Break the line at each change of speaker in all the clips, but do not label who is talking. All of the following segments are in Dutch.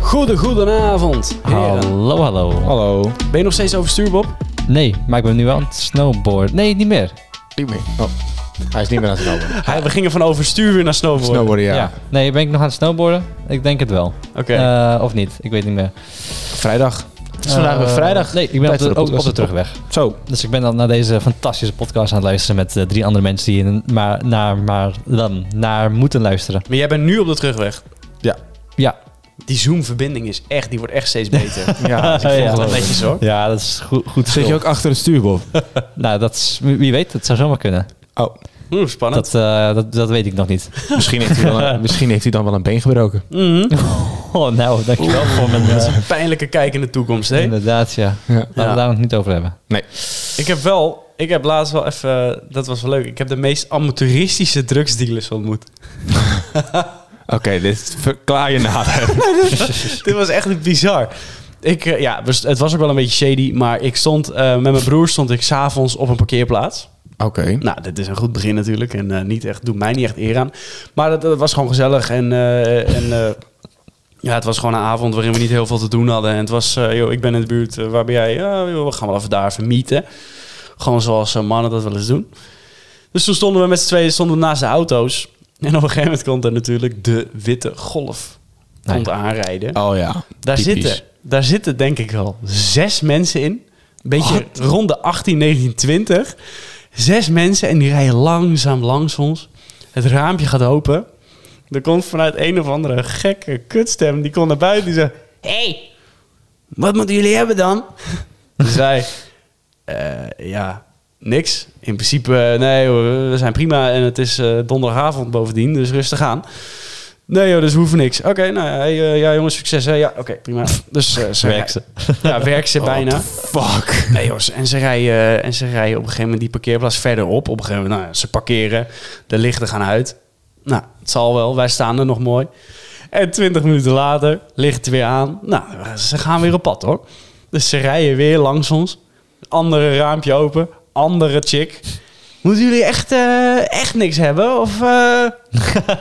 Goede, goedenavond. Heren.
Hallo, hallo.
Hallo.
Ben je nog steeds overstuur, Bob?
Nee, maar ik ben nu aan het snowboarden. Nee, niet meer.
Niet meer. Oh. Hij is niet meer aan het snowboarden.
Hij- we gingen van overstuur weer naar snowboarden.
Snowboarden, ja.
Ja. Nee, ben ik nog aan het snowboarden? Ik denk het wel.
Oké.
Eh, of niet, ik weet niet meer.
Vrijdag. Het is vandaag
Eh,
weer vrijdag.
Nee, ik ben op
Tijd
de,
voor de
ook op
podcast.
de terugweg.
Zo.
Dus ik ben dan naar deze fantastische podcast aan het luisteren met eh, drie andere mensen die in- maar, naar, maar dan naar moeten luisteren.
maar jij bent nu op de terugweg.
Ja.
Die Zoom-verbinding is echt, die wordt echt steeds beter. Dat
Ja.
is
ja.
wel netjes hoor.
Ja, dat is goed. goed
Zit je ook achter het stuur, Bob?
Nou, dat is, wie wie weet, het zou zomaar kunnen.
Oh.
Oeh, spannend.
Dat, eh, dat, dat weet ik nog niet.
Misschien heeft, hij dan een, misschien heeft hij dan wel een been gebroken.
Mhm.
Oh, nou, dankjewel voor mijn...
Dat
eh,
is een pijnlijke kijk in de toekomst, hè?
Inderdaad, ja. Laten we
Ja.
daar nog niet over hebben.
Nee.
Ik heb wel, ik heb laatst wel even, eh, dat was wel leuk. Ik heb de meest amateuristische drugsdealers ontmoet.
Oké, dit verklaar je nader.
Dit was echt bizar. Ik, eh, ja, dus het was ook wel een beetje shady, maar ik stond eh, met mijn broer stond ik s'avonds op een parkeerplaats.
Oké.
Nou, dit is een goed begin natuurlijk en eh, niet echt, doet mij niet echt eer aan. Maar dat, dat was gewoon gezellig en, eh, en eh, ja, het was gewoon een avond waarin we niet heel veel te doen hadden. En het was, eh, joh, ik ben in de buurt, eh, waar ben jij? Ja, joh, we gaan wel even daar even meeten. Gewoon zoals eh, mannen dat wel eens doen. Dus toen stonden we met z'n tweeën stonden we naast de auto's. En op een gegeven moment komt er natuurlijk de witte golf
Nee.
komt aanrijden.
Oh ja.
Daar
Typisch.
zitten, daar zitten denk ik wel zes mensen in. Een beetje rond de 18, 19, 20. Zes mensen en die rijden langzaam langs ons. Het raampje gaat open. Er komt vanuit een of andere gekke kutstem. Die komt naar buiten die zegt... Hé, hey, wat moeten jullie hebben dan? Dus wij... eh, ja, niks. In principe, eh, nee, hoor, we zijn prima. En het is eh, donderdagavond bovendien, dus rustig aan. Nee joh, dus we hoeven niks. Oké, nou ja, hey, eh, ja jongens, succes. Hè? Ja, oké, prima. Dus eh, ze
Werk ze.
rijden- Ja, werk ze bijna.
Fuck.
Nee joh, ze- en ze, rijden, eh, en ze rijden op een gegeven moment die parkeerplaats verder op. Op een gegeven moment, nou, ja, ze parkeren, de lichten gaan uit. Nou, het zal wel, wij staan er nog mooi. En twintig minuten later ligt het weer aan. Nou, ze gaan weer op pad hoor. Dus ze rijden weer langs ons. Andere raampje open, andere chick. Moeten jullie echt, eh, echt niks hebben? Of, eh?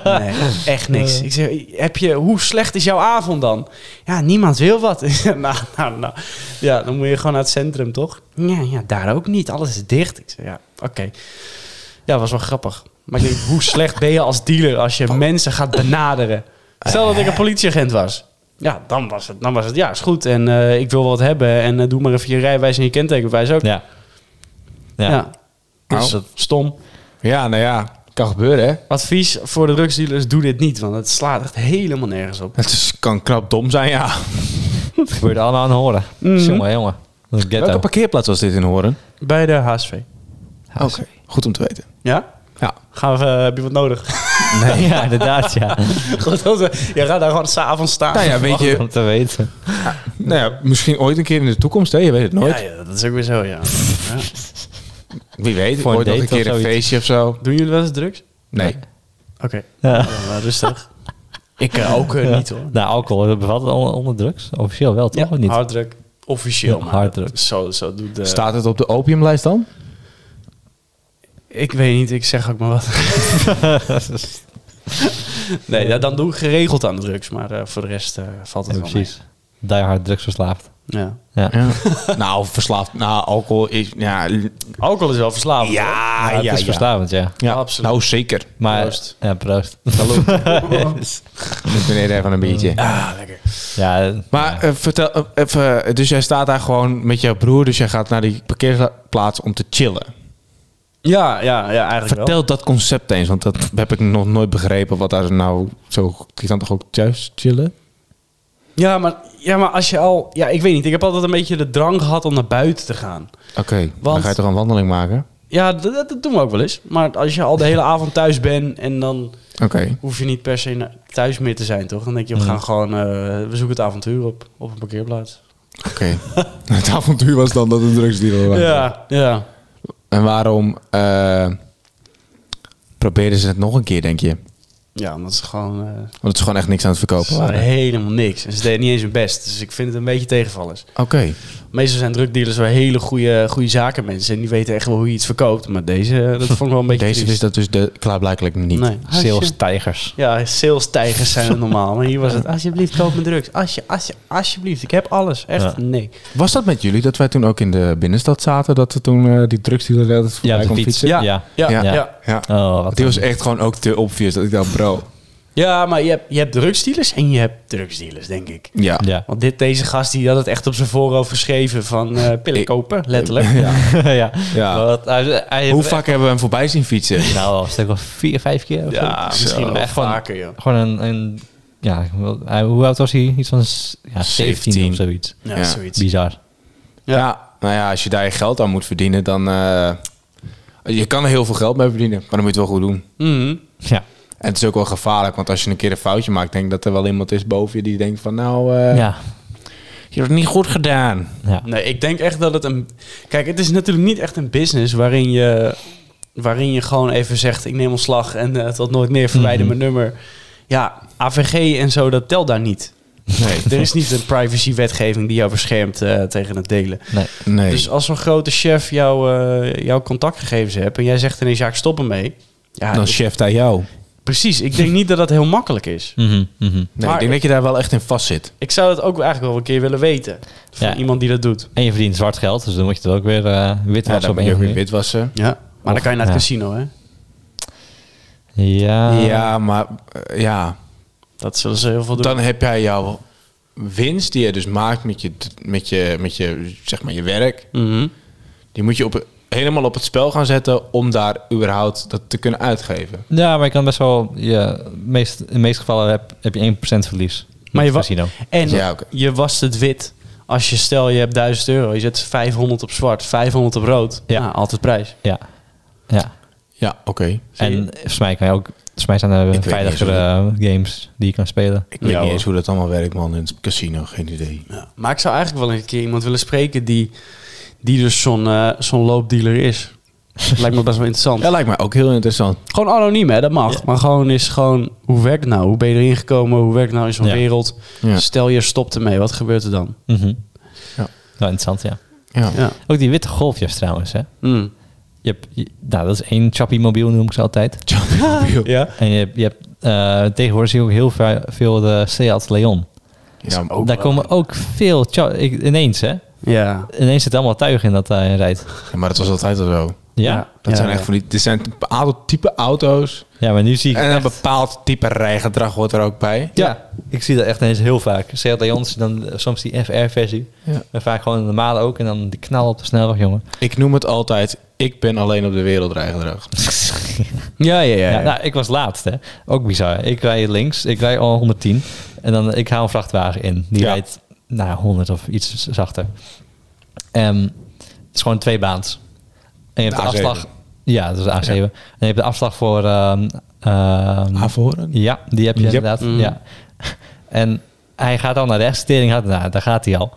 Nee, echt niks. Ik zeg, heb je, hoe slecht is jouw avond dan? Ja, niemand wil wat. Ik zeg, nou, nou, nou. Ja, dan moet je gewoon naar het centrum, toch? Ja, ja daar ook niet. Alles is dicht. Ik zeg, ja, oké. Ja, was wel grappig. Maar ik denk, hoe slecht ben je als dealer als je mensen gaat benaderen? Stel dat ik een politieagent was. Ja, dan was het, dan was het ja, is goed. En eh, ik wil wat hebben. En eh, doe maar even je rijwijs en je kentekenwijs ook.
Ja. Ja.
Ja. Dus
Nou.
stom.
Ja, nou ja. Kan gebeuren, hè?
Advies voor de drugsdealers, doe dit niet. Want het slaat echt helemaal nergens op.
Het is, kan knap dom zijn, ja.
Het gebeurt allemaal aan het horen.
Mhm.
Jongen, jongen. Dat is ghetto.
Welke parkeerplaats was dit in Horen?
Bij de HSV.
Oké.
Goed om te weten.
Ja?
Ja.
Gaan we, eh, heb je wat nodig?
Nee, ja, inderdaad, ja.
Goed, dat we- je gaat daar gewoon s'avonds staan.
Nou ja, weet
Goed
je,
om te weten.
nou ja, misschien ooit een keer in de toekomst, hè? Je weet het nooit.
Ja, ja, dat is ook weer zo, ja. Ja.
Wie weet,
Voor een
ooit nog
date
een
of
keer een
zoiets.
feestje of zo.
Doen jullie wel eens drugs?
Nee.
Oké,
Ja.
dan, eh, rustig. ik eh, ook eh, niet hoor.
Nou, alcohol eh, bevat het on- onder drugs. Officieel wel, toch? of niet?
harddruk. Officieel,
Ja,
maar
harddruk.
dat- Zo, zo doet de...
Staat het op de opiumlijst dan?
Ik weet niet, ik zeg ook maar wat. nee, ja, dan doe ik geregeld aan de drugs, maar eh, voor de rest eh, valt het
Ja,
wel
precies. Die hard drugs verslaafd.
mee. Ja.
Ja.
nou, verslaafd. Nou, alcohol is... Ja, l-
Alcohol is wel verslavend. hoor.
ja,
het is verslavend, ja.
Ja,
Absoluut.
Nou, zeker.
Maar,
Proost.
Ja, proost. Yes.
Met meneer even een biertje.
Ah, lekker.
Ja, eh,
Maar eh, vertel eh, even... eh, Dus jij staat daar gewoon met jouw broer. Dus jij gaat naar die parkeerplaats om te chillen.
Ja, ja, ja, eigenlijk wel.
Vertel dat concept eens. Want dat heb ik nog nooit begrepen. Wat daar nou zo... Je kan toch ook thuis chillen?
Ja maar, ja, maar als je al... Ja, ik weet niet. Ik heb altijd een beetje de drang gehad om naar buiten te gaan.
Oké, dan ga je toch een wandeling maken?
Ja, dat, dat- dat doen we ook wel eens. Maar als je al de hele avond thuis bent en dan
Oké.
hoef je niet per se na- thuis meer te zijn, toch? Dan denk je, we gaan gewoon... eh, we zoeken het avontuur op, op een parkeerplaats.
Oké. het avontuur was dan dat een drugsdealer was.
Ja, ja.
En waarom eh proberen ze het nog een keer, denk je?
Ja, omdat ze gewoon... eh,
Want het is gewoon echt niks aan het
ze
verkopen.
waren
waren.
helemaal niks. En ze deden niet eens hun best. Dus ik vind het een beetje tegenvallers.
Oké.
Meestal zijn drugdealers wel hele goede, goede zakenmensen. En die weten echt wel hoe je iets verkoopt. Maar deze, eh, dat vond ik wel een beetje
Deze is
triest.
dat dus de, klaarblijkelijk niet.
Nee.
Sales tijgers.
Ja, sales tijgers zijn het normaal. Maar hier was het, alsjeblieft, koop me drugs. Alsje, alsje, alsjeblieft, ik heb alles. Echt,
Ja.
nee.
Was dat met jullie dat wij toen ook in de binnenstad zaten? Dat er toen eh, die drugsdealer dat het
Ja,
voorbij
op de
kon
fiets.
fietsen?
Ja.
Ja.
ja.
Ja, ja.
Ja.
ja.
Ja.
Oh, wat
Die was echt gewoon ook te obvious. Dat ik dacht, bro.
maar je hebt, je hebt drugsdealers en je hebt drugsdealers, denk ik.
Ja.
Ja.
Want dit, deze gast die had het echt op zijn voorhoofd geschreven van eh, pillen
Ik-
kopen, letterlijk.
ja.
Ja.
Wat, hij, hij-
Hoe vaak hebben we hem voorbij zien fietsen?
Nou, een stuk of vier, vijf keer. of zo.
Ja, misschien
Zo.
wel
Echt gewoon-
vaker, joh.
Gewoon een... een ja, ik wil- hij- hoe oud was hij? Iets van s- ja, 17,
17.
of zoiets.
Ja,
Ja.
zoiets.
Bizar.
Ja. Nou ja, als je daar je geld aan moet verdienen, dan... eh, je kan er heel veel geld mee verdienen, maar dan moet je het wel goed doen.
Mhm.
Ja.
En het is ook wel gevaarlijk, want als je een keer een foutje maakt... denk ik dat er wel iemand is boven je die denkt van... Nou, eh,
ja.
je hebt het niet goed gedaan.
ja.
Nee, ik denk echt dat het een... Kijk, het is natuurlijk niet echt een business waarin je, waarin je gewoon even zegt... ik neem ontslag en eh, tot nooit meer verwijder
Mhm.
mijn nummer. Ja, AVG en zo, dat telt daar niet.
Nee.
Er is niet een privacywetgeving die jou beschermt eh, tegen het delen.
Nee.
nee.
Dus als zo'n grote chef jou, eh, jouw contactgegevens hebt... en jij zegt ineens, ja, ik stop ermee. Ja,
dan
ik-
Nou, chef hij jou.
precies. Ik denk niet dat dat heel makkelijk is.
Mhm, mhm.
Nee,
Maar-
ik denk dat je daar wel echt in vast zit.
Ik zou dat ook eigenlijk wel een keer willen weten. Van
Ja.
iemand die dat doet.
En je verdient zwart geld, dus dan moet je het ook weer eh wit
Ja,
wassen
dan
op
ben
een
je ook weer
manier.
witwassen.
Ja. Maar dan kan je naar het
ja.
casino, hè?
Ja.
ja, maar eh, ja,
Dat zullen ze heel veel doen.
dan heb jij jouw winst die je dus maakt met je, met je, met je, zeg maar je werk.
Mhm.
Die moet je op, helemaal op het spel gaan zetten om daar überhaupt dat te kunnen uitgeven.
Ja, maar je kan best wel... Je, meest, in de meeste gevallen heb, heb je 1% verlies.
Maar je wa-
casino.
En
Ja, oké.
je wast het wit. Als je stel, je hebt 1000 euro, je zet 500 op zwart, 500 op rood.
Ja.
Ja, altijd prijs.
Ja. Ja.
Ja, oké.
Zie je?
En volgens mij, kan je ook, volgens mij zijn
weet
er
niet
veiligere eh, games die je kan spelen.
Ik weet
Ja,
niet
hoor.
eens hoe dat allemaal werkt, man. In het casino, geen idee.
Ja. Maar ik zou eigenlijk wel een keer iemand willen spreken die, die dus zo'n eh, zo'n loopdealer is. Lijkt me best wel interessant.
Ja, lijkt mij ook heel interessant.
Gewoon anoniem, hè, dat mag. Maar gewoon is gewoon, hoe werkt het nou? Hoe ben je erin gekomen? Hoe werkt het nou in zo'n
Ja.
wereld?
Ja.
Stel je stopt ermee, wat gebeurt er dan?
Mhm.
Ja.
Nou, interessant, ja.
Ja.
Ja.
Ook die witte golfjes trouwens, hè.
Mm.
Je hebt, je- nou, dat is één chappie mobiel, noem ik ze altijd.
Ja,
ja.
En je, hebt- je hebt eh, tegenwoordig zie je ook heel veel, veel de Seat Leon.
maar
Ook
Daar
wel.
komen ook veel... cha- ik, ineens, hè.
Ja.
Ineens zit allemaal tuig in dat hij rijdt.
ja, maar dat was altijd al zo.
Ja.
Ja.
ja.
Dat zijn echt van die, er zijn een bepaald type auto's.
maar nu zie ik...
En een
echt-
bepaald type rijgedrag hoort er ook bij.
ja. ik zie dat echt ineens heel vaak. Seat Leons, dan soms die FR-versie.
Ja.
Maar vaak gewoon de normale ook. En dan die knal op de snelweg, jongen.
Ik noem het altijd, ik ben alleen op de wereld rijgedrag.
Ja, ja,
Ja,
ja.
nou, ik was laatst, hè. Ook bizar. Ik rijd links, ik rijd al 110. En dan, ik haal een vrachtwagen in. Die
Ja.
rijdt naar 100 of iets zachter. Ehm, het is gewoon twee baans. En je hebt de,
De A7.
afslag... Ja, dat is de A7. En je hebt de afslag voor... ehm, ehm,
Havoren?
ja, die heb je
Yep.
inderdaad.
Mm.
Ja. En hij gaat al naar rechts. Tering had, nou, daar gaat hij al.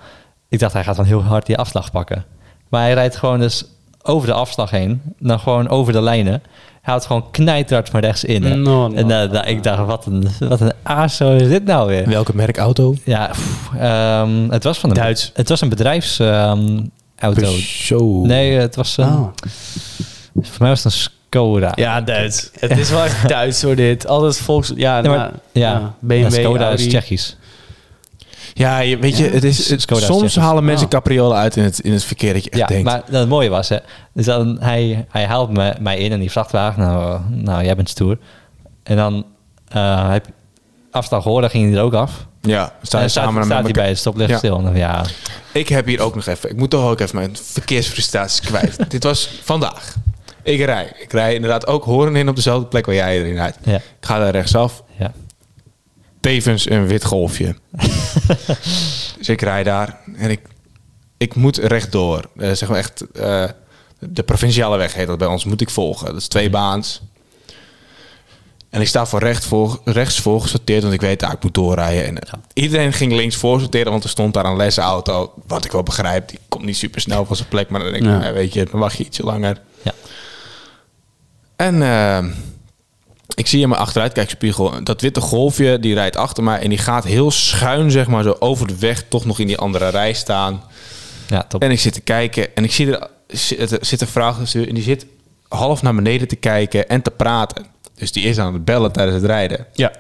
Ik dacht, hij gaat dan heel hard die afslag pakken. Maar hij rijdt gewoon dus over de afslag heen. Dan gewoon over de lijnen. Hij houdt gewoon knijterhard van rechts in. hè.
No, no,
en eh, nou, ik dacht, wat een, wat een aarzo is dit nou weer?
Welke merk auto?
Ja, pff, ehm, het was van een,
Duits.
Het was een bedrijfsauto.
Peugeot.
nee, het was een,
Oh.
voor mij was het een Skoda.
Ja, Duits. Het is wel echt Duits hoor dit. Altijd volks... Ja,
Ja, maar-
nou,
ja.
ja, BMW,
Skoda
Audi.
is Tsjechisch.
Ja, je, weet je, het is, het-
Skoda is
soms
Tsjechisch.
halen mensen
Ah.
capriolen uit in het, in het verkeer dat je echt
Ja,
denkt.
maar dat het mooie was, hè. Dus dan, hij, hij haalt me, mij in en die vrachtwagen. Nou, eh, nou jij bent stoer. En dan eh heb afstand gehoord, dan ging hij er ook af.
ja, we
en
staan
dan staat,
samen
staat
naar
hij bij het stoplicht
Ja.
stil. En dan, ja,
Ik heb hier ook nog even, ik moet toch ook even mijn verkeersfrustraties kwijt. Dit was vandaag. Ik rij. Ik rij inderdaad ook horen in op dezelfde plek waar jij erin rijdt.
Ja.
Ik ga daar rechtsaf.
ja.
tevens een wit golfje. dus ik rij daar en ik, ik moet rechtdoor. Eh zeg maar echt, eh, de provinciale weg heet dat bij ons, moet ik volgen. Dat is twee baans. En ik sta voor recht voor, rechts voor gesorteerd, want ik weet, ah, ik moet doorrijden. En, eh, Iedereen ging links voor sorteren, want er stond daar een lessenauto. Wat ik wel begrijp, die komt niet super snel van zijn plek. Maar dan denk ik,
Ja.
nou, weet je, dan wacht je ietsje langer.
ja.
En eh, ik zie in mijn achteruitkijkspiegel dat witte golfje, die rijdt achter mij en die gaat heel schuin, zeg maar, zo over de weg toch nog in die andere rij staan.
Ja, top.
En ik zit te kijken en ik zie er zit, er zit een vrouw achter het stuur en die zit half naar beneden te kijken en te praten. Dus die is aan het bellen tijdens het rijden.
Ja.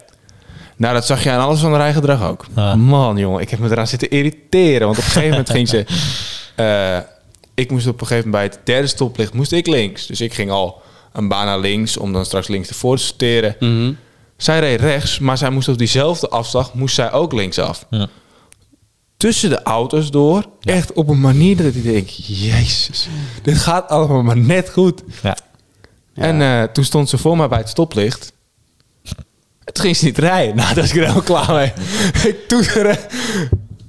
Nou, dat zag je aan alles van haar eigen gedrag ook.
Ah.
Man, jongen, ik heb me eraan zitten irriteren. Want op een gegeven moment ging ze... eh, ik moest op een gegeven moment bij het derde stoplicht moest ik links. Dus ik ging al een baan naar links om dan straks links ervoor te sorteren.
Mhm.
Zij reed rechts, maar zij moest op diezelfde afslag moest zij ook linksaf.
Ja.
Tussen de auto's door, echt op een manier dat ik denk... Jezus, dit gaat allemaal maar net goed.
Ja.
En eh, toen stond ze voor mij bij het stoplicht. Het ging ze niet rijden. Nou, daar was ik er helemaal klaar mee. ik toeteren.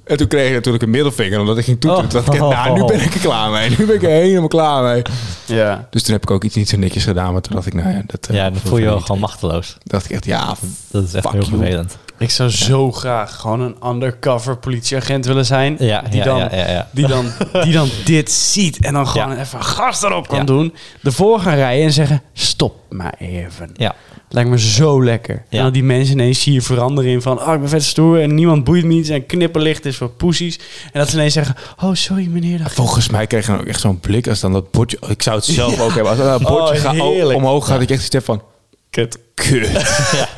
En toen kreeg ik natuurlijk een middelvinger, omdat ik ging toeteren.
Oh.
Toen dacht ik, nou, nu ben ik er klaar mee. Nu ben ik er helemaal klaar mee.
Ja.
Dus toen heb ik ook iets niet zo netjes gedaan. Maar toen dacht ik, nou ja, dat... eh,
ja, dan
dat
voel je je
hoeft
wel
niet.
gewoon machteloos.
dacht ik echt, ja,
Dat is echt
Fuck
heel
you.
vervelend.
Ik zou zo graag gewoon een undercover politieagent willen zijn.
Ja,
die,
ja,
dan,
ja, ja, ja.
Die, dan, die dan dit ziet en dan gewoon
Ja.
even gas erop kan
Ja.
doen. Ervoor gaan rijden en zeggen, stop maar even.
Ja.
Lijkt me zo lekker.
Ja.
En dan die mensen ineens zie je veranderen in van... oh, ik ben vet stoer en niemand boeit me iets... en knipperlicht is voor poesies. En dat ze ineens zeggen... oh, sorry meneer. dat-
Volgens mij kreeg ik dan ook echt zo'n blik als dan dat bordje... Ik zou het zelf ook hebben. Als dan dat bordje
Oh,
gaat o-
heerlijk.
omhoog gaat, ik echt iets heb van... Kut. Kut.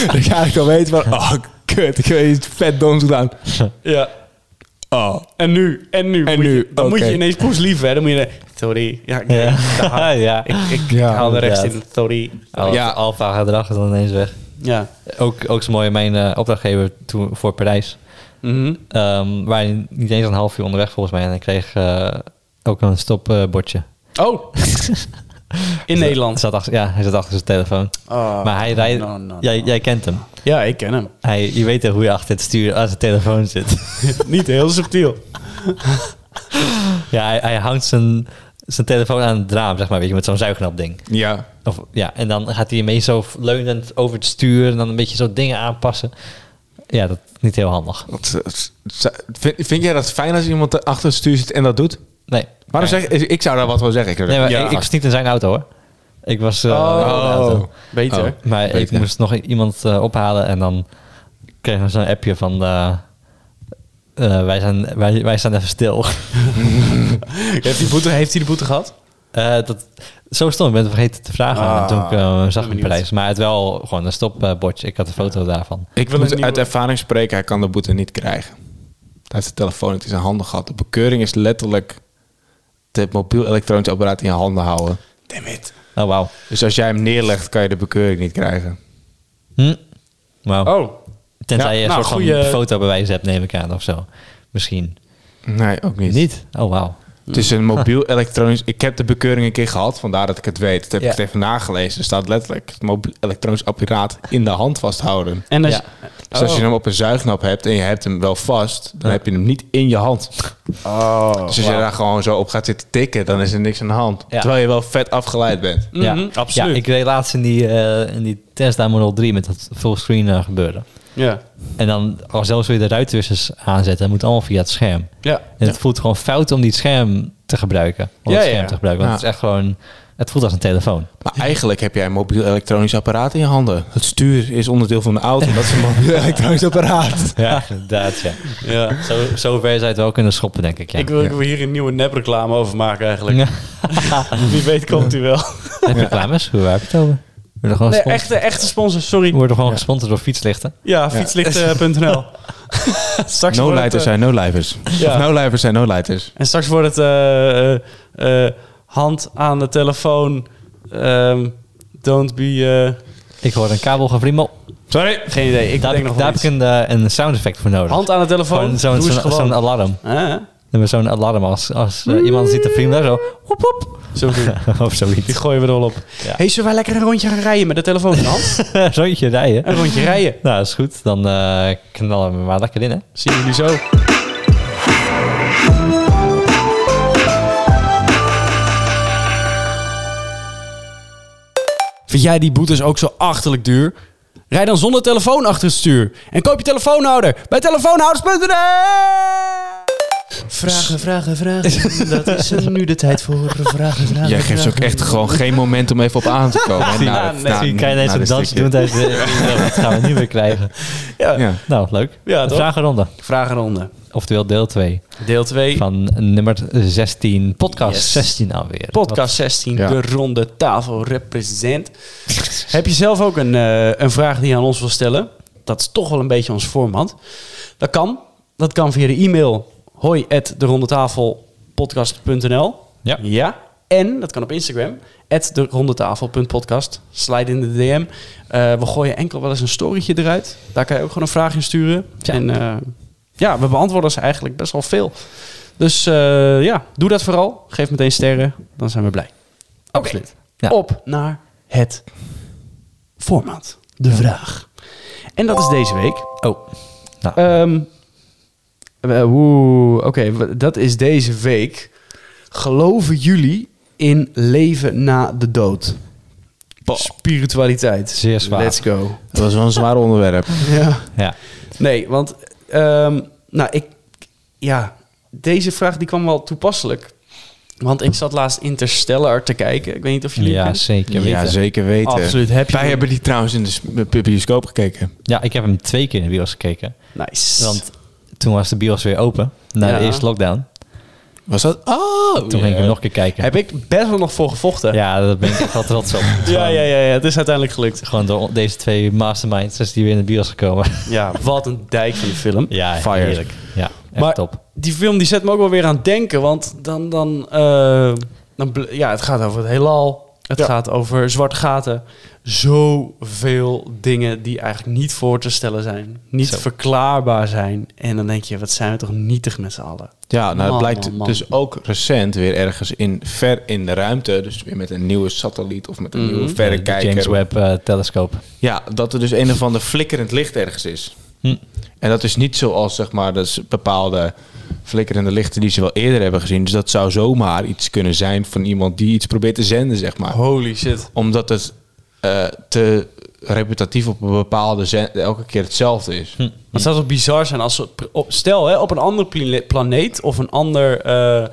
Ja.
dat je eigenlijk al weet van... Oh, kut. Ik heb iets vet doms gedaan.
Ja.
Oh.
En nu, en nu.
En
moet je-
nu,
dan moet
oké.
je ineens poes lief, hè. Dan moet je... Sorry. Ja, ik,
Ja.
ja.
ja.
ik, ik
Ja,
haal de rest in.
inderdaad.
Sorry.
Al,
Ja.
Alfa gedrag is dan ineens weg.
Ja.
Ook, ook zo mooi mijn eh, opdrachtgever toen, voor Parijs.
Mhm.
Ehm waar je niet eens een half uur onderweg volgens mij. En ik kreeg eh, ook een stopbordje.
Oh. in Nederland.
Zat achter, ja, hij zat achter zijn telefoon.
Oh,
maar hij rijdt...
no, no,
jij,
no.
jij kent hem.
Ja, ik ken hem.
Hij, je weet toch hoe je achter het stuur aan zijn telefoon zit.
Niet heel subtiel.
Oh. ja, hij, hij hangt zijn, zijn telefoon aan het raam, zeg maar. Weet je, met zo'n zuignap ding.
Ja.
Of, ja, en dan gaat hij ermee zo leunend over het stuur... en dan een beetje zo dingen aanpassen. Ja, dat is niet heel handig.
Wat, eh, z- vind, vind jij dat fijn als iemand achter het stuur zit en dat doet?
Nee.
Waarom zeg ik, ik zou daar wat van zeggen. Ik zou
Nee, maar
zeggen,
ik,
ja,
ik was niet in zijn auto, hoor. Ik was... eh, in de
Oh.
auto.
Beter.
Oh.
Maar ik
Beter.
moest nog iemand eh, ophalen en dan kregen we zo'n appje van... eh, eh, wij, zijn, wij, wij staan even stil.
Heeft, hij boete, heeft hij de boete gehad?
Eh, dat, zo stom, ik ben het vergeten te vragen.
Ah,
en toen ik, eh, zag ik
benieuwd.
de prijs. Maar het wel gewoon een stopbordje. Ik had een foto daarvan.
ik
wil
wil moet
een
uit
nieuwe-
ervaring spreken. Hij kan de boete niet krijgen. Hij heeft de telefoon niet in zijn handen gehad. De bekeuring is letterlijk het mobiel elektronisch apparaat in je handen houden.
Damn it.
Oh, wauw.
Dus als jij hem neerlegt, kan je de bekeuring niet krijgen.
Hm? Wauw.
Oh.
Tenzij
Ja,
je een
nou,
soort
goeie-
van fotobewijs hebt, neem ik aan of zo. Misschien.
Nee, ook niet.
Niet? Oh, wauw.
Het is een mobiel elektronisch... Ik heb de bekeuring een keer gehad, vandaar dat ik het weet. Dat heb
Ja.
ik het even nagelezen. Er staat letterlijk het mobiel elektronisch apparaat in de hand vasthouden.
En als,
Ja.
Dus als
Oh.
je hem op een zuignap hebt en je hebt hem wel vast, dan heb je hem niet in je hand.
Oh.
Dus als je daar gewoon zo op gaat zitten tikken, dan is er niks aan de hand.
Ja.
Terwijl je wel vet afgeleid bent.
Mhm,
ja.
absoluut.
Ja, ik reed laatst in die, eh, in die Tesla Model 3 met dat fullscreen eh, gebeuren.
Ja.
En dan, al zelfs wil je de ruitwissers aanzetten, dat moet allemaal via het scherm.
Ja.
En het voelt gewoon fout om die scherm te gebruiken. Om
Ja,
het scherm
ja.
te gebruiken. Want
Ja.
het is echt gewoon... Het voelt als een telefoon.
Maar eigenlijk heb jij een mobiel elektronisch apparaat in je handen. Het stuur is onderdeel van de auto, dat is een mobiel elektronisch apparaat.
Ja, inderdaad, ja.
ja.
Zo, zo ver zou je het wel kunnen schoppen, denk ik. Ja.
Ik wil, ik wil hier een nieuwe nepreclame over maken eigenlijk.
Ja.
Wie weet komt hij wel.
Heb je reclames? Hoe waar heb je het over? We worden gewoon,
Nee,
gesponsord-
echte, echte sponsor, sorry.
worden gewoon gesponsord door fietslichten.
Ja, eh, fietslichten.nl. Straks wordt het,
No-lighters
eh,
zijn no-livers.
Ja.
Of no-livers zijn no-lighters.
En straks wordt het eh, eh, eh, hand aan de telefoon. ehm, don't be... eh,
Ik hoor een kabel gevriemel.
Sorry.
geen idee, ik
Daar,
denk
heb ik,
nog
daar
wel
heb ik
iets.
een, eh, een sound effect voor nodig.
Hand aan de telefoon,
Gewoon zo'n
doe eens
zo'n-
gewoon.
zo'n alarm.
Hè?
Dan hebben we Zo'n alarm als, als eh, iemand ziet te vrienden zo. Hoep, hoep.
Zo doen.
of
Die
zoiets.
gooien we er wel op.
Ja.
hey, zullen wij lekker een rondje gaan rijden met de telefoon in de hand?
Rondje rijden.
Een rondje rijden.
Nou, dat is goed. Dan eh, knallen we maar lekker in, hè?
Zien jullie zo. Vind jij die boetes ook zo achterlijk duur? Rij dan zonder telefoon achter het stuur. En koop je telefoonhouder bij telefoonhouders.nl Vragen, vragen, vragen. Dat is er nu de tijd voor. Vragen, vragen,
Jij geeft ze ook echt gewoon geen moment om even op aan te komen. Nou,
Ja,
dat-
nee.
nou,
Misschien kan je
nou,
ineens een
dat is
dansje doen tijdens de... Dat gaan we niet meer krijgen.
Ja.
Ja.
Nou, leuk.
Ja,
Een
toch?
Vragenronde.
Vragenronde.
oftewel deel 2
Deel 2.
van nummer 16, podcast
Yes.
16 alweer.
Podcast 16,
Ja.
de ronde tafel represent. Heb je zelf ook een, eh, een vraag die je aan ons wil stellen? Dat is toch wel een beetje ons format. Dat kan. Dat kan via de e-mail hoi at de
Ja.
ja. En dat kan op Instagram. At de rondetafel.podcast. Slide in de DM. Eh, we gooien enkel wel eens een storytje eruit. Daar kan je ook gewoon een vraag in sturen.
Ja.
En eh, ja, we beantwoorden ze eigenlijk best wel veel. Dus eh, ja, doe dat vooral. Geef meteen sterren. Dan zijn we blij. Absoluut.
Ja.
Op naar het format. De vraag. En dat is deze week.
Oh, nou,
Ehm, eh, Oeh, oké, w- dat is deze week. Geloven jullie in leven na de dood? Spiritualiteit.
Zeer zwaar.
Let's go.
Dat was wel een zwaar onderwerp.
Ja.
ja.
Nee, want ehm, nou, ik, ja, deze vraag die kwam wel toepasselijk. Want ik zat laatst Interstellar te kijken. Ik weet niet of jullie het
ja,
kennen.
zeker
Ja,
weten.
zeker weten.
Absoluut. Heb je
Wij hebben die trouwens in de s- bi- bioscoop gekeken.
Ja, ik heb hem twee keer in de bios gekeken.
Nice.
Want toen was de bios weer open, na
Ja.
de eerste lockdown.
Was dat? Oh!
Toen ging ik hem nog een keer kijken.
heb ik best wel nog voor gevochten.
Ja, daar ben ik echt wel trots op.
ja, ja, ja, ja. Het is uiteindelijk gelukt.
Gewoon door deze twee masterminds is die weer in de bios gekomen.
Ja, wat een dijk van de film.
Ja,
Fire.
heerlijk. Ja, echt
Maar-
top.
die film die zet me ook wel weer aan het denken. Want dan, dan, eh, dan bl- ja, het gaat over het heelal. Het
Ja.
gaat over zwarte gaten. Zoveel dingen die eigenlijk niet voor te stellen zijn. Niet
Zo.
verklaarbaar zijn. En dan denk je, wat zijn we toch nietig met z'n allen.
Ja, nou,
Man,
het blijkt
man, man.
dus ook recent weer ergens in, ver in de ruimte. Dus weer met een nieuwe satelliet of met een
Mhm.
nieuwe
De
verrekijker.
James Webb eh, telescoop.
Ja, dat er dus een of ander flikkerend licht ergens is.
Hm.
En dat is niet zoals, zeg maar, dat is bepaalde flikkerende lichten die ze wel eerder hebben gezien. Dus dat zou zomaar iets kunnen zijn van iemand die iets probeert te zenden, zeg maar.
Holy shit.
Omdat het eh, te reputatief op een bepaalde zend elke keer hetzelfde is.
Het zou toch bizar zijn als... we pr- Op, stel, hè, op een ander pla- planeet of een ander eh,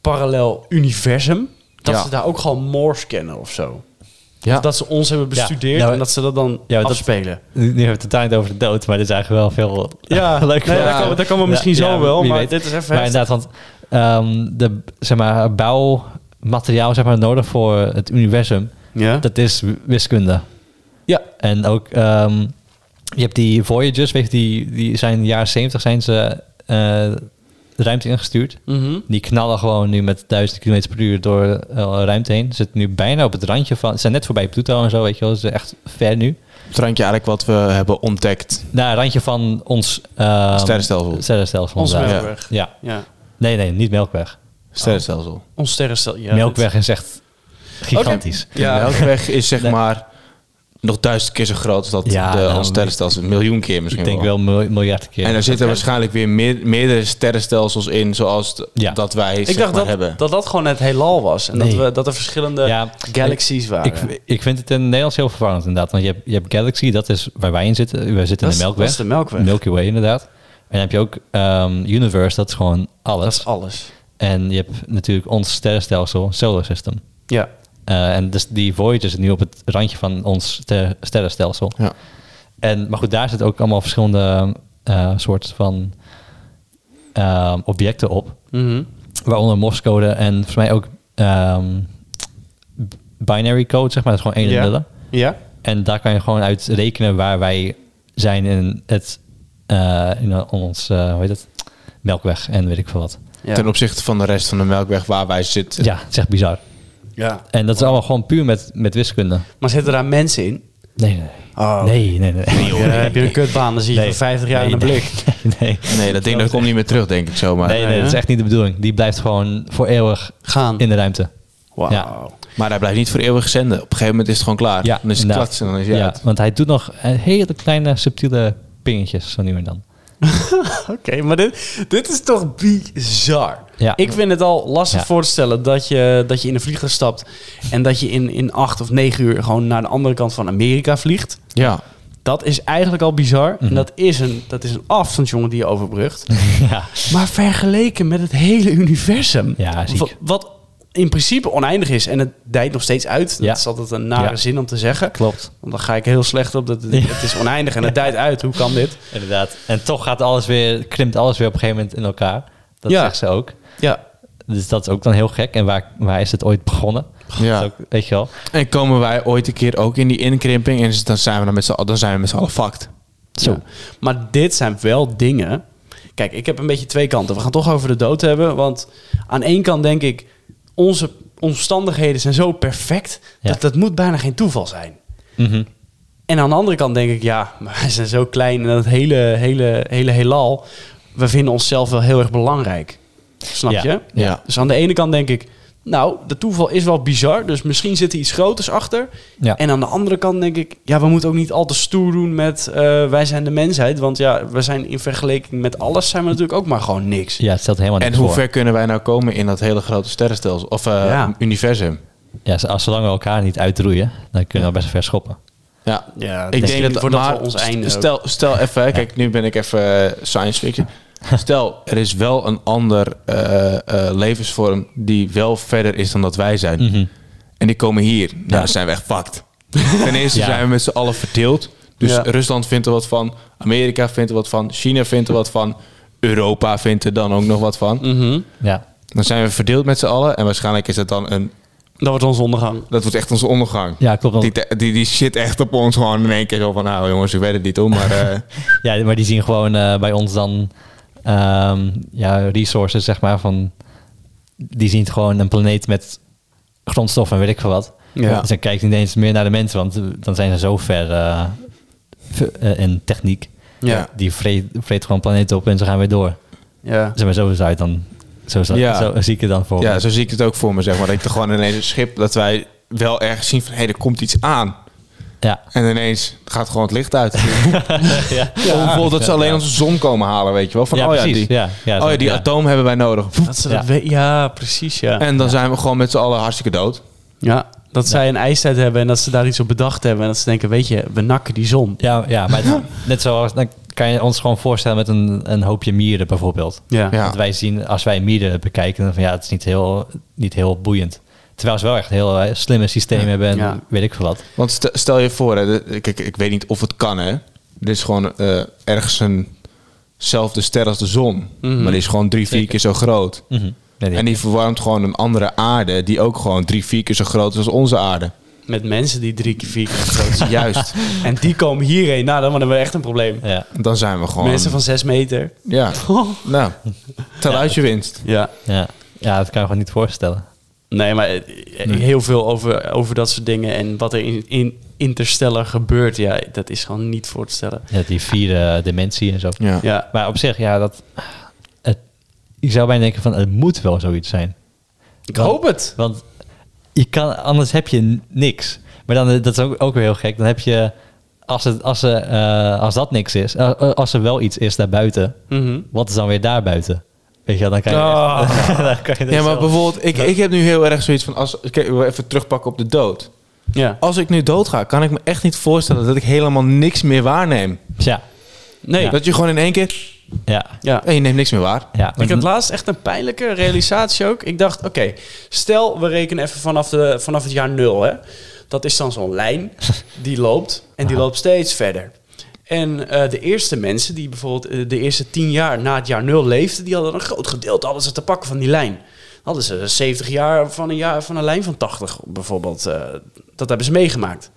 parallel universum... dat
Ja.
ze daar ook gewoon Morse kennen of zo.
Ja.
Of dat ze ons hebben bestudeerd
Nou,
en dat ze dat dan
ja, dat-
afspelen.
Nu nu hebben we het totaal niet over de dood, maar dit is eigenlijk wel veel
Ja,
leuk.
nee,
ja,
daar komen- daar komen we misschien zo wel, maar dit is even
Maar
heftig.
inderdaad, want ehm, de zeg maar, bouwmateriaal zeg maar, nodig voor het universum,
Ja.
dat is w- wiskunde.
ja.
En ook, ehm, je hebt die Voyagers, weet je, die, die zijn in de jaren 70 zijn ze eh, de ruimte ingestuurd.
Mhm.
Die knallen gewoon nu met 1000 km per uur door eh, ruimte heen. Zitten nu bijna op het randje van. Ze zijn net voorbij Pluto en zo, weet je wel. Ze zijn echt ver nu.
Het randje eigenlijk wat we hebben ontdekt.
Nou, randje van ons. ehm,
Sterrenstelsel.
Sterrenstelsel.
Ons
inderdaad.
Melkweg.
Ja.
Ja.
Nee, nee, niet Melkweg.
Sterrenstelsel.
Ons sterrenstel. Ja,
Melkweg is echt gigantisch.
Ja.
Ja. Melkweg is zeg maar nog duizend keer zo groot als dat
Ja,
de,
nou,
ons sterrenstelsel. Een miljoen keer misschien
Ik denk wel mil- miljard keer.
En er zitten waarschijnlijk weer meer, meerdere sterrenstelsels in, zoals d-
Ja.
dat wij
Ik dacht dat,
hebben.
dat dat gewoon het heelal was. En
Nee.
dat, we, dat er verschillende
Ja,
galaxies waren.
ik, ik vind het in het Nederlands heel verwarrend inderdaad. Want je hebt, je hebt Galaxy, dat is waar wij in zitten. Wij zitten
Dat
in
is-
de Melkweg.
dat is de Melkweg.
Milky Way inderdaad. En dan heb je ook ehm, Universe, dat is gewoon alles.
dat is alles.
En je hebt natuurlijk ons sterrenstelsel, Solar System.
Ja.
Eh, en dus die Voyager zit nu op het randje van ons ster- sterrenstelsel.
Ja.
En, maar goed, daar zitten ook allemaal verschillende eh soorten van ehm, objecten op.
Mhm.
Waaronder Morse-code en volgens mij ook ehm, b- binary code, zeg maar. Dat is gewoon 1 en
Ja.
nullen.
Ja.
En daar kan je gewoon uit rekenen waar wij zijn in het eh, in ons, eh, hoe heet het? Melkweg en weet ik veel wat.
Ja.
Ten opzichte van de rest van de Melkweg waar wij zitten.
Ja, het is echt bizar.
ja.
En dat is allemaal gewoon puur met, met wiskunde.
Maar zitten daar mensen in?
Nee, nee.
Oh.
Nee, nee, nee.
Ja, heb je een kutbaan, dan zie je
Nee.
van 50 jaar
Nee,
in de
nee.
blik.
Nee, nee.
Nee, dat ding dat komt niet meer terug, denk ik zomaar.
Nee, nee, dat is echt niet de bedoeling. Die blijft gewoon voor eeuwig
Gaan.
in de ruimte.
Wauw.
Ja.
Maar hij blijft niet voor eeuwig zenden. Op een gegeven moment is het gewoon klaar. dan is het
inderdaad.
klatsen en dan is hij uit.
want hij doet nog eh, hele kleine subtiele pingetjes zo nu en dan.
Oké, maar dit, dit is toch bizar.
Ja.
Ik vind het al lastig
Ja.
voor te stellen dat je, dat je in een vlieger stapt en dat je in, in acht of negen uur gewoon naar de andere kant van Amerika vliegt.
Ja.
Dat is eigenlijk al bizar.
Mhm.
En dat is, een, dat is een afstand, jongen, die je overbrugt.
ja.
maar vergeleken met het hele universum.
Ja, ziek.
Wat, wat in principe oneindig is. En het dijt nog steeds uit. Dat
Ja.
is altijd een nare
Ja.
zin om te zeggen.
Klopt.
Want dan ga ik heel slecht op. Dat,
Ja.
Het is oneindig en het dijt uit. Hoe kan dit?
Inderdaad. En toch gaat alles weer, krimpt alles weer op een gegeven moment in elkaar. Dat
Ja.
zegt ze ook.
Ja.
Dus dat is ook dan heel gek. En waar, waar is het ooit begonnen?
Ja.
Dat is ook, weet je wel.
En komen wij ooit een keer ook in die inkrimping en dan zijn we dan met z'n dan zijn we met z'n allen fucked.
Zo. Maar dit zijn wel dingen. Kijk, ik heb een beetje twee kanten. We gaan het toch over de dood hebben. Want aan één kant denk ik, onze omstandigheden zijn zo perfect.
Ja.
Dat dat moet bijna geen toeval zijn.
Mhm.
En aan de andere kant denk ik, ja, maar wij zijn zo klein en dat hele, hele, hele heelal. We vinden onszelf wel heel erg belangrijk. Snap
Ja.
je?
Ja.
Dus aan de ene kant denk ik, nou, de toeval is wel bizar. Dus misschien zit er iets groters achter.
Ja.
En aan de andere kant denk ik, ja, we moeten ook niet al te stoer doen met eh, wij zijn de mensheid. Want ja, we zijn in vergelijking met alles zijn we natuurlijk ook maar gewoon niks.
ja, het stelt helemaal
En
niks
hoe
voor.
ver kunnen wij nou komen in dat hele grote sterrenstelsel of eh,
Ja.
universum?
Ja, z- als zolang we elkaar niet uitroeien, dan kunnen we best ver schoppen.
Ja.
Ja,
ik denk dat
wordt dat
maar
wel ons einde. ook.
Stel, stel even, kijk, nu ben ik even eh, science fiction. Stel, er is wel een ander eh, eh, levensvorm die wel verder is dan dat wij zijn. En die komen hier. Nou, dan zijn we echt fucked. Ten eerste
Ja.
zijn we met z'n allen verdeeld. Dus
Ja.
Rusland vindt er wat van. Amerika vindt er wat van. China vindt er wat van. Europa vindt er dan ook nog wat van.
Mhm.
Ja,
Dan zijn we verdeeld met z'n allen. En waarschijnlijk is dat dan een...
Dat wordt ons ondergang.
Dat wordt echt onze ondergang.
ja klopt.
Die,
want-
te- die, die shit echt op ons gewoon in één keer zo van... Nou jongens, ik weet het niet hoor, maar... eh,
Ja, maar die zien gewoon eh, bij ons dan ehm, ja, resources, zeg maar. Van, die zien het gewoon een planeet met grondstoffen en weet ik veel wat.
Ja.
Dus dan kijkt hij niet eens meer naar de mensen, want eh, dan zijn ze zo ver eh, ver- eh, in techniek.
Ja.
Die vreet, vreet gewoon planeten op en ze gaan weer door.
Ja.
Zeg maar, zo is het uit dan. Zo, is dat,
Ja.
zo zie ik het dan voor. me.
Ja, zo zie ik het ook voor me, zeg maar. Dat ik er gewoon ineens een schip... Dat wij wel ergens zien van... Hé, er komt iets aan.
ja.
En ineens gaat gewoon het licht uit.
ja.
Of bijvoorbeeld dat ze alleen onze zon komen halen, weet je wel. Van,
Ja,
oh, ja,
precies.
die,
Ja, ja,
oh ja,
zo-
die
ja.
atoom hebben wij nodig.
Dat ze dat
Ja.
we- ja, precies, ja.
En dan zijn we gewoon met z'n allen hartstikke dood.
Ja, dat zij een ijstijd hebben en dat ze daar iets op bedacht hebben. En dat ze denken, weet je, we nakken die zon.
Ja, ja maar het- net zoals, dan kan je ons gewoon voorstellen met een, een hoopje mieren bijvoorbeeld.
Ja.
Ja.
Want wij zien, als wij mieren bekijken, dan van ja, het is niet heel, niet heel boeiend. Terwijl ze wel echt heel eh, slimme systemen hebben en
Ja.
weet ik veel wat.
Want stel, stel je voor, hè, de- kijk, ik weet niet of het kan, hè. Er is gewoon eh, ergens eenzelfde ster als de zon. Maar die is gewoon drie, vier
Mhm. Zeker.
keer zo groot.
Mhm. Nee, nee.
En die verwarmt gewoon een andere aarde... die ook gewoon drie, vier keer zo groot is als onze aarde.
Met mensen die drie keer vier keer groot zijn.
Juist.
En die komen hierheen. Nou, dan hebben we echt een probleem.
Ja,
Dan zijn we gewoon...
Mensen van zes meter.
Ja. Nou, tel uit je winst.
Ja.
ja. ja, dat kan je gewoon niet voorstellen.
Nee, maar eh, eh, heel veel over, over dat soort dingen. En wat er in, in Interstellar gebeurt. Ja, dat is gewoon niet voor te stellen.
Ja, die vierde dimensie en zo.
Ja.
Ja.
Maar op zich, ja, dat... Het, ik zou bijna denken van, het moet wel zoiets zijn.
Ik hoop het.
Want je kan, anders heb je n- niks. Maar dan, eh, dat is ook, ook weer heel gek. Dan heb je, als, het, als, ze, eh, als dat niks is, eh, eh, als er wel iets is daarbuiten,
Mhm.
wat is dan weer daarbuiten? Weet je, wel, dan kan je.
Ah.
echt- dan kan je dus er
Ja, maar
zelf-
bijvoorbeeld, ik, ik heb nu heel erg zoiets van... Als, kijk, we even terugpakken op de dood.
Ja.
Als ik nu dood ga, kan ik me echt niet voorstellen... dat ik helemaal niks meer waarneem.
Ja,
Nee. Ja.
Dat je gewoon in één keer...
ja,
ja.
En je neemt niks meer waar.
ja.
Ik had laatst echt een pijnlijke realisatie ook. Ik dacht, oké, stel we rekenen even vanaf, de, vanaf het jaar nul. Hè. Dat is dan zo'n lijn die loopt en die loopt steeds verder. En eh, de eerste mensen die bijvoorbeeld eh, de eerste tien jaar na het jaar nul leefden... die hadden een groot gedeelte hadden ze te pakken van die lijn. Hadden ze 70 jaar van een, jaar, van een lijn van 80 bijvoorbeeld. eh, dat hebben ze meegemaakt.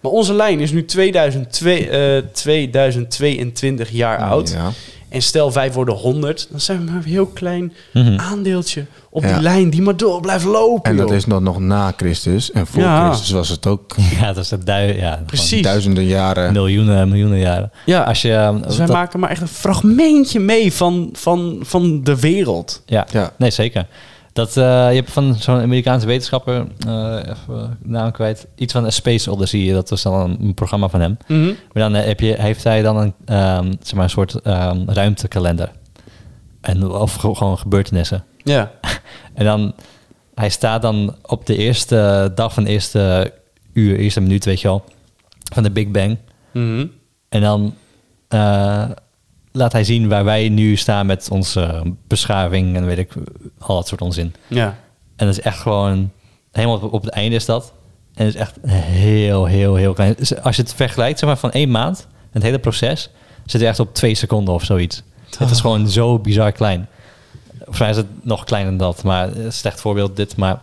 Maar onze lijn is nu 2002, eh, 2022 jaar oud.
Ja.
En stel, wij worden 100, dan zijn we maar een heel klein
Mhm.
aandeeltje op
Ja.
die lijn die maar door blijft lopen.
En dat
joh.
is dan nog na Christus. En voor
Ja.
Christus was het ook
ja, dat is het duivel. Ja, gewoon
Precies.
duizenden jaren.
Miljoenen en miljoenen jaren.
Ja.
als je. eh,
Dus wij
dat-
maken maar echt een fragmentje mee van, van, van de wereld.
Ja,
Ja.
nee, zeker. Dat, eh, je hebt van zo'n Amerikaanse wetenschapper, eh even de naam kwijt, iets van een Space Odyssey, dat was dan een, programma van
Mm.
hem. Maar dan eh, heb je, heeft hij dan een, ehm, zeg maar een soort ehm, ruimtekalender. En, of ge- gewoon gebeurtenissen.
Ja.
En dan, hij staat dan op de eerste dag van de eerste uur, eerste minuut, weet je wel, van de Big Bang.
Mhm.
En dan eh, laat hij zien waar wij nu staan met onze beschaving en weet ik, al dat soort onzin.
ja.
En dat is echt gewoon helemaal op, op het einde is dat. En het is echt heel, heel, heel klein. Dus als je het vergelijkt zeg maar, van één maand, het hele proces, zit je echt op twee seconden of zoiets. Het is gewoon zo bizar klein. Volgens mij is het nog kleiner dan dat, maar eh, slecht voorbeeld dit. Maar in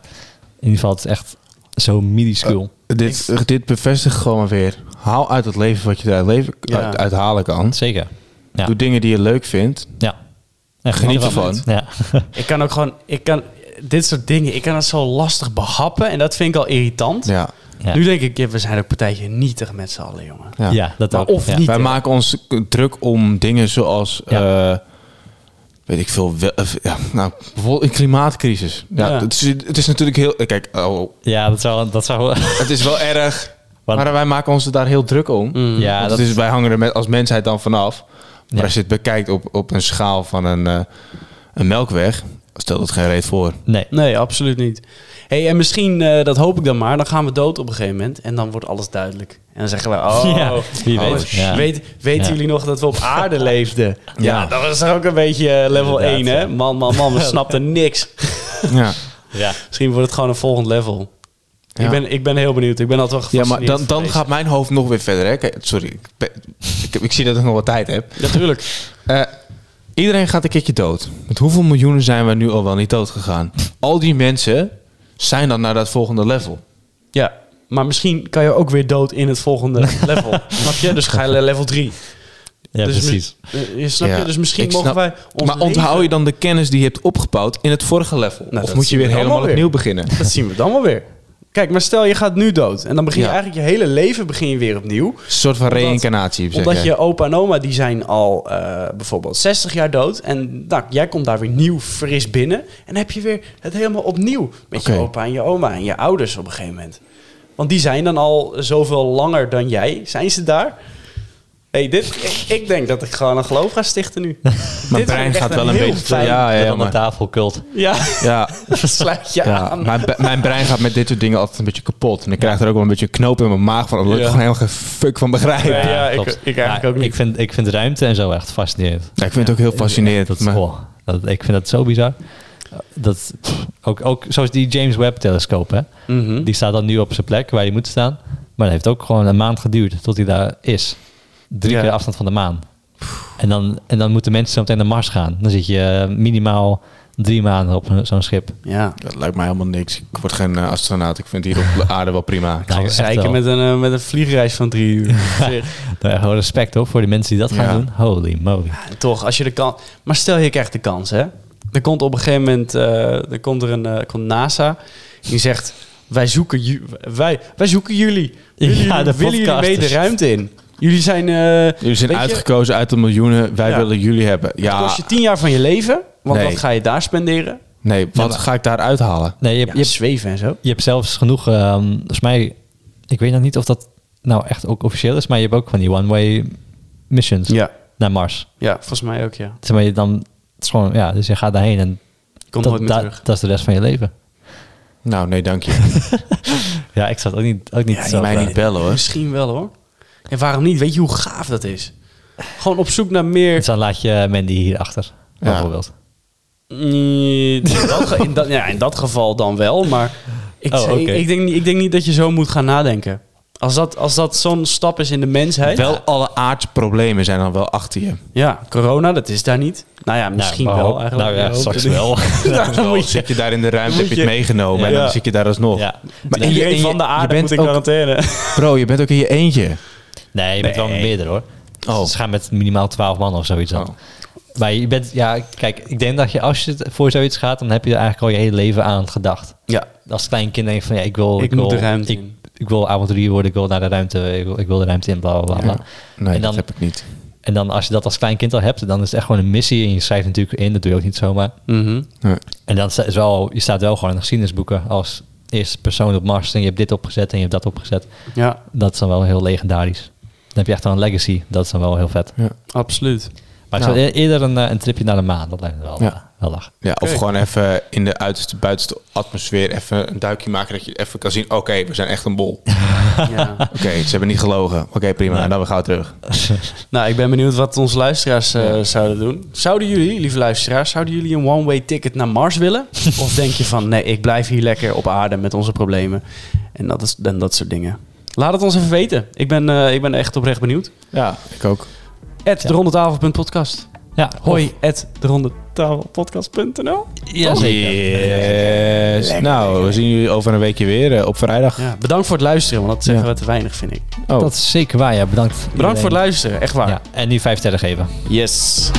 ieder geval, het is echt zo minuscuul.
Oh. Dit, dit bevestigt gewoon maar weer. Haal uit het leven wat je eruit leven,
Ja.
uit, uithalen kan.
Zeker. Ja.
Doe dingen die je leuk vindt.
Ja. En
Geniet
gewoon-
ervan.
Ja.
Ik kan ook gewoon, ik kan dit soort dingen, ik kan het zo lastig behappen en dat vind ik al irritant.
Ja.
Ja.
Nu denk ik, ja, we zijn ook partijtje nietig met z'n allen, jongen.
ja.
Ja, dat
Maar
ook.
of
ja.
niet.
Wij maken ons k- druk om dingen zoals...
Ja.
eh, weet ik veel... Wel, eh, ja, nou, bijvoorbeeld een klimaatcrisis. Ja,
Ja.
Het, is, het is natuurlijk heel... eh, Kijk, oh,
Ja, dat zou... Dat zou
het is wel erg.
Wat-
Maar wij maken ons er daar heel druk om.
ja,
Want
dat
Mm. het is, wij hangen er met, als mensheid dan vanaf. Maar
Ja.
als je het bekijkt op, op een schaal van een, eh, een melkweg... stelt het geen reet voor.
Nee.
Nee, absoluut niet. hey, en misschien, eh, dat hoop ik dan maar, dan gaan we dood op een gegeven moment en dan wordt alles duidelijk. En dan zeggen we, oh,
Ja, wie
oh,
weet. Ja.
weet weten
Ja.
jullie nog dat we op aarde leefden? Ja,
Ja.
dat was ook een beetje eh, level
Inderdaad,
1, hè? Man, man, man, we snapten niks.
Ja.
Ja.
Misschien wordt het gewoon een volgend level.
Ja.
Ik, ben, ik ben heel benieuwd. Ik ben altijd wel
Ja, maar
gefascineerd
dan, dan
geweest.
gaat mijn hoofd nog weer verder. Hè? Kijk, Sorry, ik, ben- ik, ik zie dat ik nog wat tijd heb.
Natuurlijk.
Eh, iedereen gaat een keertje dood. Met hoeveel miljoenen zijn we nu al wel niet dood gegaan? Al die mensen zijn dan naar dat volgende level.
Ja, maar misschien kan je ook weer dood in het volgende level. Snap je? Dus ga je naar level 3.
Ja,
dus mi-
precies.
eh, je snap je?
Ja,
Dus misschien
ik
mogen
snap-
wij ons
maar onthoud
leven-
je dan de kennis die je hebt opgebouwd in het vorige level?
Nou,
of
dat
moet je
zien
weer
we dan
helemaal
wel weer.
opnieuw beginnen?
Dat zien we dan wel weer. Kijk, maar stel je gaat nu dood. En dan begin je
Ja.
eigenlijk je hele leven begin je weer opnieuw.
Een soort van reïncarnatie. zeg
Omdat
jij.
je opa en oma die zijn al eh, bijvoorbeeld 60 jaar dood. En nou, jij komt daar weer nieuw, fris binnen. En dan heb je weer het helemaal opnieuw. Met je
Oké.
opa en je oma en je ouders op een gegeven moment. Want die zijn dan al zoveel langer dan jij. Zijn ze daar? Hey, dit, ik, ik denk dat ik gewoon een geloof ga stichten nu.
Mijn
Dit
brein
vind ik
gaat
echt
wel een
heel
beetje...
fijn-
Ja, ja,
Dat
ja,
aan de
maar-
tafel kult.
Ja,
ja,
dat sluit je
ja.
aan.
Mijn, bre- mijn brein gaat met dit soort dingen altijd een beetje kapot. En ik krijg er ook wel een beetje een knoop in mijn maag van... omdat ik
Ja.
er gewoon helemaal geen fuck van begrijp.
Nee. Ja, ik-
klopt.
ik eigenlijk
Maar
ook niet.
Ik vind, ik vind ruimte en zo echt fascinerend.
Ja, ik vind het ook heel fascinerend.
Dat, is-
maar-
goh, dat, ik vind dat zo bizar. Dat, pff, ook, ook zoals die James Webb-telescoop, hè.
Mhm.
Die staat dan nu op zijn plek waar hij moet staan. Maar dat heeft ook gewoon een maand geduurd tot hij daar is. Drie
Ja.
keer de afstand van de maan. En dan, en dan moeten mensen zo meteen naar Mars gaan. Dan zit je eh, minimaal drie maanden op een- zo'n schip.
Ja.
Dat lijkt mij helemaal niks. Ik word geen eh, astronaut. Ik vind hier op de aarde wel prima.
Nou, echt
Oh, Zeiken
wel.
met een, eh, met een vliegreis van drie uur. Zeg,
Nou, echt wel respect hoor, voor de mensen die dat gaan
Ja.
doen. Holy moly.
Toch, als je de kans... Maar stel je krijgt de kans, hè. Er komt op een gegeven moment... eh, er komt er een eh, komt NASA. Die zegt, wij zoeken, ju- wij, wij zoeken jullie. Willen,
Ja,
jullie,
de
willen jullie mee de
podcasters.
ruimte in? Jullie zijn... eh,
Jullie zijn
weet je,
uitgekozen uit de miljoenen. Wij
Ja.
willen jullie hebben.
Het
Ja,
kost je tien jaar van je leven. Want
Nee.
wat ga je daar spenderen?
nee, wat ga ik daar uithalen?
Nee, je, hebt-
Ja,
je, hebt-
zweven en zo.
je hebt zelfs genoeg, ehm, volgens mij, ik weet nog niet of dat nou echt ook officieel is, maar je hebt ook van die one-way missions
Ja.
naar Mars.
Ja, volgens mij ook, ja.
Zeg maar, je dan, het is gewoon, ja, dus je gaat daarheen en
Komt
dat,
nooit meer
dat-
terug.
dat is de rest van je leven.
Nou, nee, dank je.
Ja, ik zat ook niet, ook niet
Ja,
zo.
Mij
bij.
niet bellen hoor.
Misschien wel, hoor. En waarom niet? Weet je hoe gaaf dat is? Gewoon op zoek naar meer
Dus dan laat je Mandy hier achter, bijvoorbeeld.
Nee, In dat, ge- in dat- ja, in dat geval dan wel, maar ik,
Oh, oké.
ik, ik denk, niet- ik denk niet dat je zo moet gaan nadenken. Als dat, als dat zo'n stap is in de mensheid.
Wel alle aardproblemen zijn dan wel achter je.
Ja, corona, dat is daar niet. Nou ja, misschien
Nou,
wel
maar-
eigenlijk.
Nou ja,
Ik hoop
straks
het niet.
wel.
Ja, dan moet je-
Zit je daar in de ruimte, heb je het
je-
meegenomen en
Ja.
dan zit je daar alsnog.
ja.
Maar in je-
Iedereen
in je-
van de
je
aarde
bent
moet in
ook-
quarantaine.
Bro, je bent ook in je eentje.
Nee, je bent wel
Nee.
meerder hoor.
Oh.
Ze gaan met minimaal 12 man of zoiets dan.
Oh.
Maar je bent, ja, kijk, ik denk dat je als je het voor zoiets gaat, dan heb je er eigenlijk al je hele leven aan gedacht.
Ja,
Als klein kind denk je van, ja, ik wil,
Ik moet
wil-
de ruimte
ik,
in.
ik wil avonturier worden, ik wil naar de ruimte, ik wil, ik wil de ruimte in, bla bla bla. bla.
Nee,
en,
dat
dan,
heb ik niet.
en dan als je dat als klein kind al hebt, dan is het echt gewoon een missie en je schrijft natuurlijk in, dat doe je ook niet zomaar.
Mhm.
Nee.
En dan sta- is wel, je staat wel gewoon in de geschiedenisboeken als eerste persoon op Mars en je hebt dit opgezet en je hebt dat opgezet.
ja
Dat is dan wel heel legendarisch. Dan heb je echt wel een legacy, dat is dan wel heel vet.
Ja.
absoluut.
Maar ik
Nou.
zou e- eerder een, eh, een tripje naar de maan, dat lijkt me wel,
Ja.
eh, Wel lachen.
Ja, of
Oké.
gewoon even in de uiterste, buitenste atmosfeer even een duikje maken. Dat je even kan zien, oké, we zijn echt een bol. Oké,
Ja.
ze hebben niet gelogen. Oké, prima.
Nee.
Dan we gaan terug.
Nou, ik ben benieuwd wat onze luisteraars eh, zouden doen. Zouden jullie, lieve luisteraars, zouden jullie een one-way ticket naar Mars willen? of denk je van, nee, ik blijf hier lekker op aarde met onze problemen en dat, is, en dat soort dingen? Laat het ons even weten. Ik ben, eh, ik ben echt oprecht benieuwd.
Ja, ik ook.
At derondetafel.podcast.
Ja,
Hoi, at derondetafelpodcast.nl.
Ja,
Yes. nou, we zien jullie over een weekje weer eh, op vrijdag.
Ja, bedankt voor het luisteren, want dat zeggen
Ja.
we te weinig, vind ik.
Oh.
Dat is zeker waar, ja. Bedankt.
Bedankt voor het luisteren, echt waar.
Ja, en nu vijf sterren geven.
Yes.